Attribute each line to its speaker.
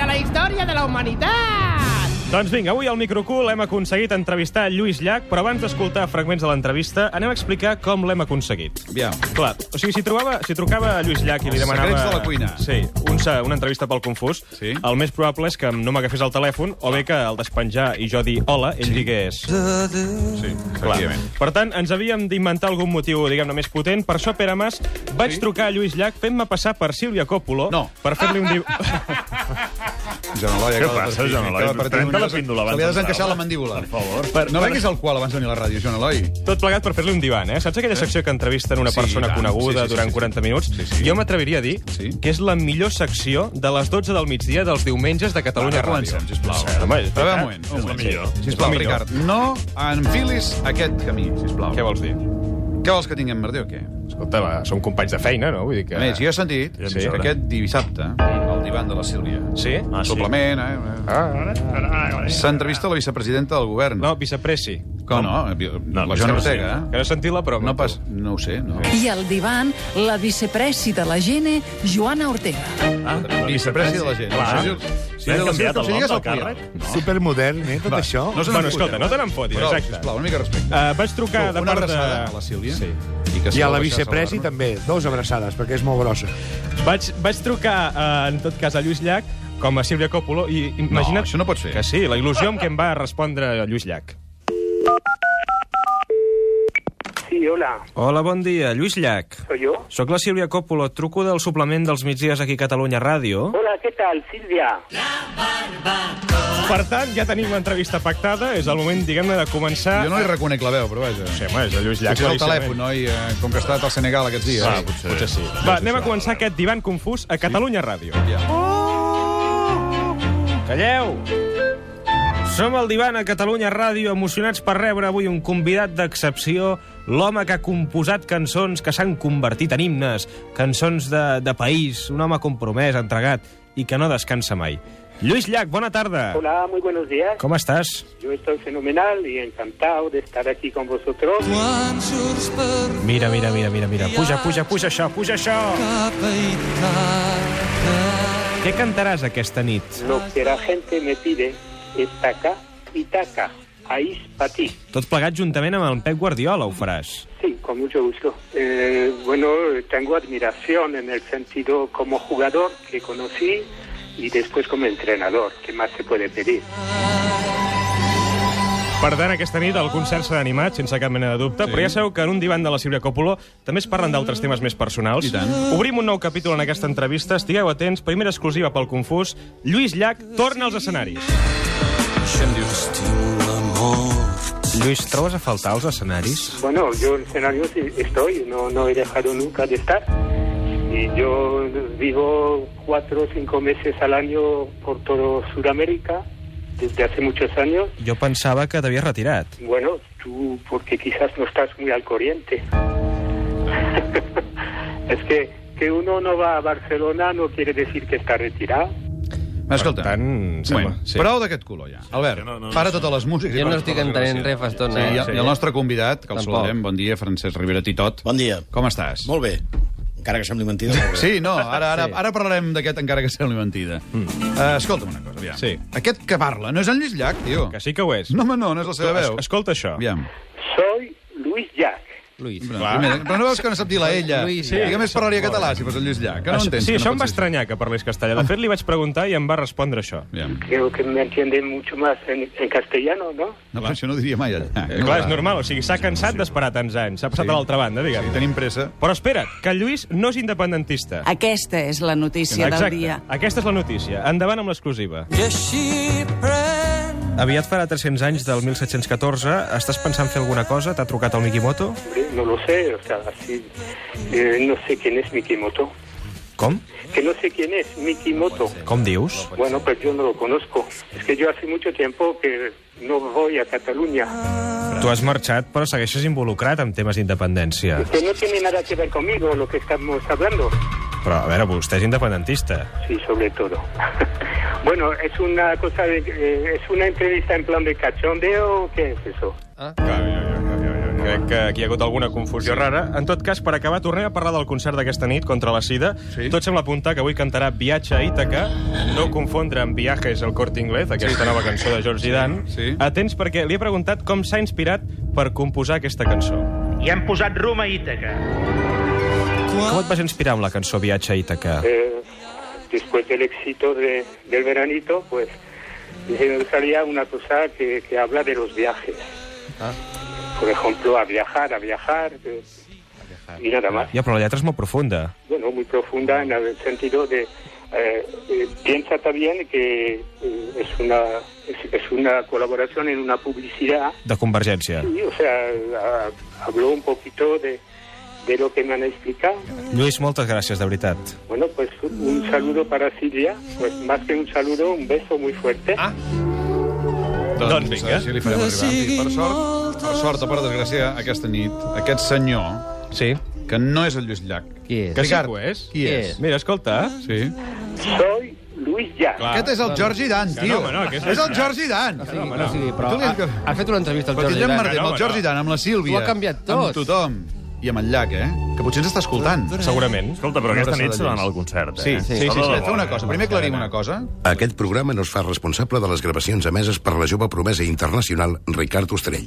Speaker 1: de la humanitat!
Speaker 2: Doncs vinga, avui al Microcool hem aconseguit entrevistar Lluís Llach, però abans d'escoltar fragments de l'entrevista, anem a explicar com l'hem aconseguit.
Speaker 3: Aviam.
Speaker 2: Clar, o sigui, si, trobava, si trucava a Lluís Llach i li
Speaker 3: Els
Speaker 2: demanava...
Speaker 3: secrets de la cuina.
Speaker 2: Sí, un, sa- una entrevista pel Confús,
Speaker 3: Sí.
Speaker 2: el més probable és que no m'agafés el telèfon, o bé que al despenjar i jo dir hola, ell sí. digués...
Speaker 3: Sí,
Speaker 2: Clar.
Speaker 3: efectivament.
Speaker 2: Per tant, ens havíem d'inventar algun motiu, diguem-ne, més potent. Per això, Pere Mas, vaig sí? trucar a Lluís Llach fent-me passar per Sílvia Coppola
Speaker 3: No.
Speaker 2: per fer-li un... Di...
Speaker 3: Joan Eloi,
Speaker 4: Què passa, Joan Eloi? Pren-te la píndola abans
Speaker 3: Se li
Speaker 4: d'entrar,
Speaker 3: ha desencaixat
Speaker 4: home.
Speaker 3: la mandíbula.
Speaker 4: Per favor.
Speaker 2: Per-
Speaker 3: no
Speaker 2: per-
Speaker 3: venguis el qual abans de venir a la ràdio, Joan Eloi.
Speaker 2: Tot plegat per fer-li un divan, eh? Saps aquella secció que entrevisten una
Speaker 3: Sí,
Speaker 2: persona
Speaker 3: i tant.
Speaker 2: coneguda
Speaker 3: Sí, sí, sí,
Speaker 2: durant
Speaker 3: sí.
Speaker 2: 40 minuts?
Speaker 3: Sí, sí.
Speaker 2: Jo m'atreviria a dir
Speaker 3: Sí.
Speaker 2: que és la millor secció de les 12 del migdia dels diumenges de Catalunya
Speaker 3: Va,
Speaker 2: Ràdio.
Speaker 3: comencem, sisplau.
Speaker 2: Sí, home, és
Speaker 3: A veure,
Speaker 2: veritat.
Speaker 3: un moment.
Speaker 4: És
Speaker 3: un
Speaker 4: la
Speaker 3: moment.
Speaker 4: millor.
Speaker 3: Sí.
Speaker 2: És la
Speaker 3: Sisplau,
Speaker 2: millor.
Speaker 3: Ricard, no enfilis aquest camí, sisplau.
Speaker 2: Què vols dir?
Speaker 3: Què vols que tinguem, merder, o què?
Speaker 2: Escolta, va, som companys de feina, no? Vull dir que...
Speaker 3: A més, jo he sentit
Speaker 4: Ja em
Speaker 3: sí. que
Speaker 4: sobra.
Speaker 3: aquest dissabte, al divan de la Sílvia,
Speaker 2: Sí?
Speaker 4: Ah, sí?
Speaker 3: suplement, eh,
Speaker 2: Ah.
Speaker 3: s'entrevista la vicepresidenta del govern.
Speaker 2: No, vicepressi.
Speaker 3: Com
Speaker 4: No,
Speaker 3: no? La Joana
Speaker 4: vicepresidenta.
Speaker 3: Ortega, eh?
Speaker 2: Que no he sentit la prova.
Speaker 3: No pas... No ho sé, no.
Speaker 5: I al divan, la vicepressi de la Gene, Joana Ortega.
Speaker 4: Ah, la
Speaker 3: Vicepresi de la gent.
Speaker 4: Clar.
Speaker 3: No sé si-
Speaker 4: N'han
Speaker 3: de la
Speaker 4: canviat
Speaker 3: gent,
Speaker 4: el
Speaker 3: si
Speaker 4: nom
Speaker 3: digues
Speaker 4: del
Speaker 3: el client.
Speaker 4: càrrec?
Speaker 6: Supermodern, eh, tot
Speaker 3: Va,
Speaker 6: això?
Speaker 3: No se
Speaker 2: Bueno,
Speaker 3: n'enfoteu.
Speaker 2: escolta, no te n'enfotis,
Speaker 3: Prou,
Speaker 2: exacte.
Speaker 3: Sisplau, una mica de respecte.
Speaker 2: Uh, vaig trucar de
Speaker 3: una
Speaker 2: part de...
Speaker 3: abraçada a la Sílvia.
Speaker 2: Sí.
Speaker 3: que
Speaker 6: I a la
Speaker 3: saludar-la.
Speaker 6: vicepresi també, dos abraçades, perquè és molt grossa.
Speaker 2: Vaig, vaig trucar, eh, en tot cas, a Lluís Llach com a Sílvia Coppola i imagina't...
Speaker 3: això no pots fer.
Speaker 2: Que sí, la il·lusió amb què em va respondre Lluís Llach.
Speaker 7: Sí, hola,
Speaker 2: Hola, bon dia. Lluís Llach.
Speaker 7: soy yo.
Speaker 2: Soc la Sílvia Coppola, truco del suplement dels migdies aquí a Catalunya Ràdio.
Speaker 7: Hola, ¿qué tal, Silvia?
Speaker 2: Per tant, ja tenim l'entrevista pactada, és el moment, diguem-ne, de començar...
Speaker 3: Jo no li reconec la veu, però vaja.
Speaker 2: Sí, home, és el Lluís Llach.
Speaker 3: Potser és el
Speaker 2: claríssimament.
Speaker 3: telèfon, noi, eh, com que ha estat al Senegal aquests dies.
Speaker 4: Ah, potser. potser sí.
Speaker 2: Va, anem a començar aquest divan confús a Catalunya Ràdio. Oh!
Speaker 3: Ja.
Speaker 2: Calleu! Som al divan a Catalunya Ràdio, emocionats per rebre avui un convidat d'excepció, l'home que ha composat cançons que s'han convertit en himnes, cançons de, de país, un home compromès, entregat i que no descansa mai. Lluís Llach, bona tarda.
Speaker 7: Hola, muy buenos días.
Speaker 2: Com estàs?
Speaker 7: Yo estoy fenomenal y encantado de estar aquí con vosotros.
Speaker 2: Mira, mira, mira, mira, mira. Puja, puja, puja això, puja això. Què cantaràs aquesta nit?
Speaker 7: Lo que la gente me pide es taca y taca. Ahí es para ti.
Speaker 2: Tot plegat juntament amb el Pep Guardiola ho faràs.
Speaker 7: Sí, con mucho gusto. Eh, bueno, tengo admiración en el sentido como jugador que conocí y después como entrenador. ¿Qué más se puede pedir?
Speaker 2: Per tant, aquesta nit el concert s'ha animat, sense cap mena de dubte, sí. però ja sabeu que en un divan de la Sílvia Coppola també es parlen d'altres temes més personals.
Speaker 3: I tant.
Speaker 2: Obrim un nou capítol en aquesta entrevista. Estigueu atents. Primera exclusiva pel Confús. Lluís Llach torna als escenaris. Lluís, trobes a faltar els escenaris?
Speaker 7: Bueno, yo en escenarios estoy, no, no he dejado nunca de estar. Y yo vivo cuatro o cinco meses al año por todo Sudamérica, desde hace muchos años.
Speaker 2: Jo pensava que t'havies retirat.
Speaker 7: Bueno, tú, porque quizás no estás muy al corriente. es que que uno no va a Barcelona no quiere decir que está retirado.
Speaker 3: Escolta,
Speaker 2: Per tant,
Speaker 3: un
Speaker 2: sembla-
Speaker 3: moment.
Speaker 2: sí.
Speaker 3: prou d'aquest color, ja. Albert,
Speaker 4: no, no,
Speaker 3: para totes les músiques. i
Speaker 8: Jo no
Speaker 3: para
Speaker 8: estic
Speaker 3: totes les
Speaker 8: entenent
Speaker 3: gràcies.
Speaker 8: res fa estona.
Speaker 3: Sí,
Speaker 8: eh?
Speaker 3: i, el- I el nostre convidat, que el
Speaker 8: Tampoc.
Speaker 3: saludarem, bon dia, Francesc Rivera Titot.
Speaker 9: Bon dia.
Speaker 3: Com estàs?
Speaker 9: Molt bé. Encara que sembli mentida, molt bé.
Speaker 3: Sí, no, ara, ara, ara parlarem d'aquest encara que sembli mentida. Mm. Uh, escolta'm una cosa, aviam.
Speaker 2: Sí.
Speaker 3: Aquest que parla no és en Lluís Llach, tio.
Speaker 2: Que sí que ho és.
Speaker 3: No, home, no, no és la seva veu.
Speaker 2: Es- Escolta això.
Speaker 3: Aviam.
Speaker 7: Soy Luis Jack.
Speaker 8: Luis.
Speaker 3: Però, primer, però no veus que no sap dir la ella?
Speaker 8: Lluís
Speaker 3: Sí.
Speaker 8: Llach.
Speaker 3: Digue'm, es parlaria català, si fos el Lluís Llach. Que no
Speaker 2: Això-
Speaker 3: entens,
Speaker 2: sí,
Speaker 3: que
Speaker 2: això
Speaker 3: no
Speaker 2: em va
Speaker 3: pots dir
Speaker 2: estranyar que parlés castellà. De fet, li vaig preguntar i em va respondre això.
Speaker 3: Aviam.
Speaker 7: Creo que me entienden mucho más en- en castellano, ¿no?
Speaker 3: No, però això no ho diria mai allà.
Speaker 2: Eh, clar, és normal, o sigui, s'ha cansat d'esperar tants anys. S'ha passat
Speaker 3: Sí.
Speaker 2: a l'altra banda, diguem.
Speaker 3: Sí, tenim pressa.
Speaker 2: Però espera't, que el Lluís no és independentista.
Speaker 5: Aquesta és la notícia del dia.
Speaker 2: Aquesta és la notícia. Endavant amb l'exclusiva. Aviat farà 300 anys del 1714. Estàs pensant fer alguna cosa? T'ha trucat el Mikimoto?
Speaker 7: Hombre, Eh, No lo sé, o sea, así, eh, no sé quién es Mikimoto.
Speaker 2: Com?
Speaker 7: Que no sé quién es Mikimoto.
Speaker 2: Com dius?
Speaker 7: Bueno, pues yo no lo conozco. Es que yo hace mucho tiempo que no voy a Cataluña.
Speaker 2: Tu has marxat, però segueixes involucrat en temes d'independència.
Speaker 7: Que no tiene nada que ver conmigo lo que estamos hablando.
Speaker 2: Però, a veure, vostè és independentista.
Speaker 7: Sí, sobre todo. bueno, es una cosa de, eh, es una entrevista en plan de cachondeo, ¿qué es eso?
Speaker 3: Clar, jo, jo, jo, jo, jo, jo.
Speaker 2: crec que aquí hi ha hagut alguna confusió sí. rara. En tot cas, per acabar, tornem a parlar del concert d'aquesta nit contra la sida.
Speaker 3: Sí.
Speaker 2: Tot sembla apuntar que avui cantarà Viatge a Ítaca, no confondre amb Viajes al Corte Inglés, aquesta nova cançó de George Dan.
Speaker 3: Sí.
Speaker 2: Atents perquè li he preguntat com s'ha inspirat per composar aquesta cançó.
Speaker 1: I han posat rum a Ítaca.
Speaker 2: Com et vas inspirar amb la cançó Viatge a Ítaca?
Speaker 7: Eh, después del éxito de- del veranito, pues dije, me gustaría una cosa que, que habla de los viajes. Por ejemplo, a viajar, a viajar, eh, y nada más.
Speaker 2: Ja, però la lletra és molt profunda.
Speaker 7: Bueno, muy profunda en el sentido de... eh, eh, piensa también que eh, es, una, es, es una colaboración en una publicidad
Speaker 2: De Convergència.
Speaker 7: y, o sea, a- habló un poquito de, de lo que me han explicado.
Speaker 2: Lluís, moltes gràcies, de veritat.
Speaker 7: Bueno, pues un saludo para Silvia, pues más que un saludo, un beso muy fuerte.
Speaker 3: Doncs,
Speaker 2: Doncs vinga.
Speaker 3: Així li farem arribar. Sí, per sort, per sort o per desgràcia, aquesta nit, aquest senyor,
Speaker 2: Sí.
Speaker 3: que no és el Lluís Llach.
Speaker 8: Qui és?
Speaker 2: Que sí que ho és.
Speaker 3: Qui és?
Speaker 2: Mira, escolta. eh?
Speaker 3: Sí.
Speaker 7: Soy Luis Llach.
Speaker 2: Clar.
Speaker 3: Aquest és el Jordi Dan, tio.
Speaker 2: home, no, aquest
Speaker 3: és el Jordi Dan.
Speaker 8: Sí, no, sí, però
Speaker 3: Tu li
Speaker 8: ha,
Speaker 3: has-
Speaker 8: has fet una entrevista al
Speaker 3: Però
Speaker 8: Jordi
Speaker 3: Guillem
Speaker 8: Dan.
Speaker 3: Martí, amb
Speaker 2: no,
Speaker 3: el Jordi Dan, amb la Sílvia...
Speaker 8: Ho ha canviat tot.
Speaker 3: Amb tothom. I amb el Llach, eh? Que potser ens està escoltant.
Speaker 2: Segurament.
Speaker 4: Escolta, però
Speaker 3: Una
Speaker 4: aquesta nit
Speaker 3: abraçada,
Speaker 4: se n'ha d'anar al
Speaker 3: Lluís.
Speaker 4: concert,
Speaker 3: Sí,
Speaker 4: eh?
Speaker 3: sí, sí. sí,
Speaker 4: Hola,
Speaker 3: sí.
Speaker 4: bona.
Speaker 3: Feu una cosa. Primer aclarim una cosa.
Speaker 9: Aquest programa no es fa responsable de les gravacions emeses per la jove promesa internacional Ricard Ostrell.